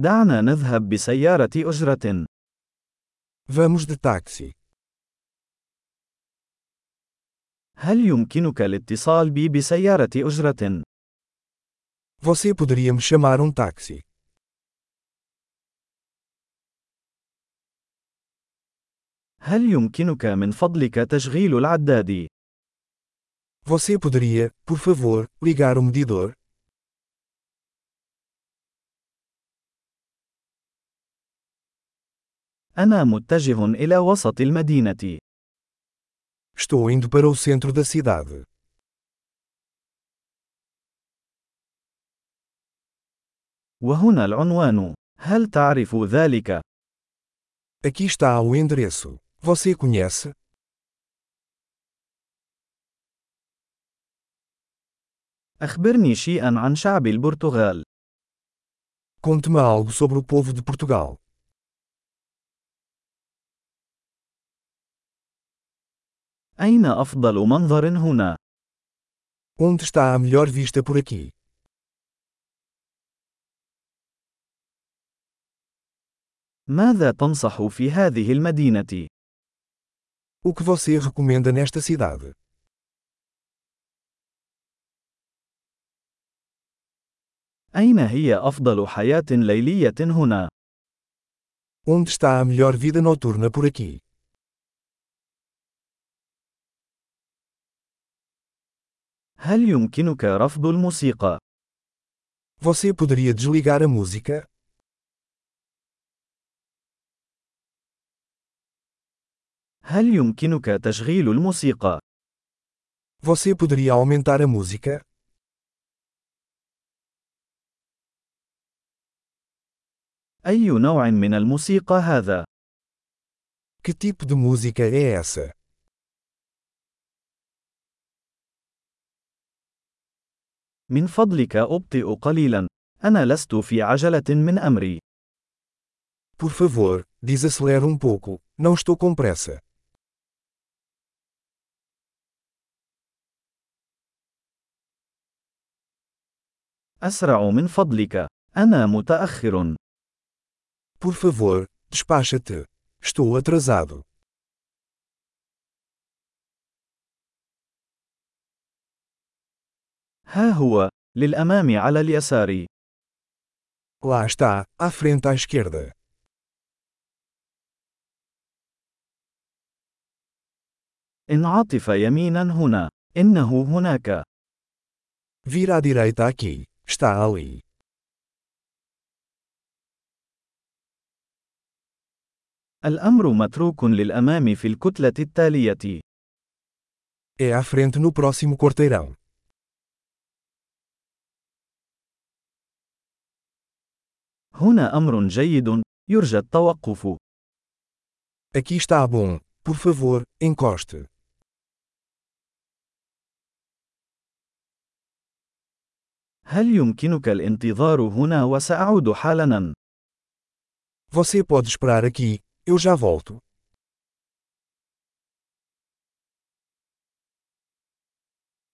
دعنا نذهب بسيارة أجرة. Vamos de táxi. هل يمكنك الاتصال بي بسيارة أجرة؟ Você poderia me chamar um táxi? هل يمكنك من فضلك تشغيل العداد؟ Você poderia, por favor, ligar o medidor? أنا متجه إلى وسط المدينة. Estou indo para o centro da cidade. وهنا العنوان. هل تعرف ذلك؟ Aqui está o endereço. Você conhece? أخبرني شيئًا عن شعب البرتغال. Conte-me algo sobre o povo de Portugal. أين أفضل منظر هنا؟ Onde está a melhor vista por aqui? ماذا تنصح في هذه المدينة؟ O que você recomenda nesta cidade? أين هي أفضل حياة ليلية هنا؟ Onde está a melhor vida noturna por aqui? هل يمكنك رفض الموسيقى؟ Você poderia desligar a música? هل يمكنك تشغيل الموسيقى؟ Você poderia aumentar a música? أي نوع من الموسيقى هذا؟ Que tipo de música é essa? من فضلك أبطئ قليلاً. أنا لست في عجلة من أمري. Por favor, desacelera um pouco. Não estou com pressa. أسرع من فضلك. أنا متأخر. Por favor, despacha-te. Estou atrasado. ها هو، للأمام على اليسار. Lá está, à frente à esquerda. انعطف يميناً هنا. إنه هناك. Vira à direita aqui. Está ali. الأمر متروك للأمام في الكتلة التالية. É à frente no próximo corteirão. هنا أمر جيد، يرجى التوقف. Aqui está bom. Por favor, encoste. هل يمكنك الانتظار هنا وسأعود حالاً؟ Você pode esperar aqui. Eu já volto.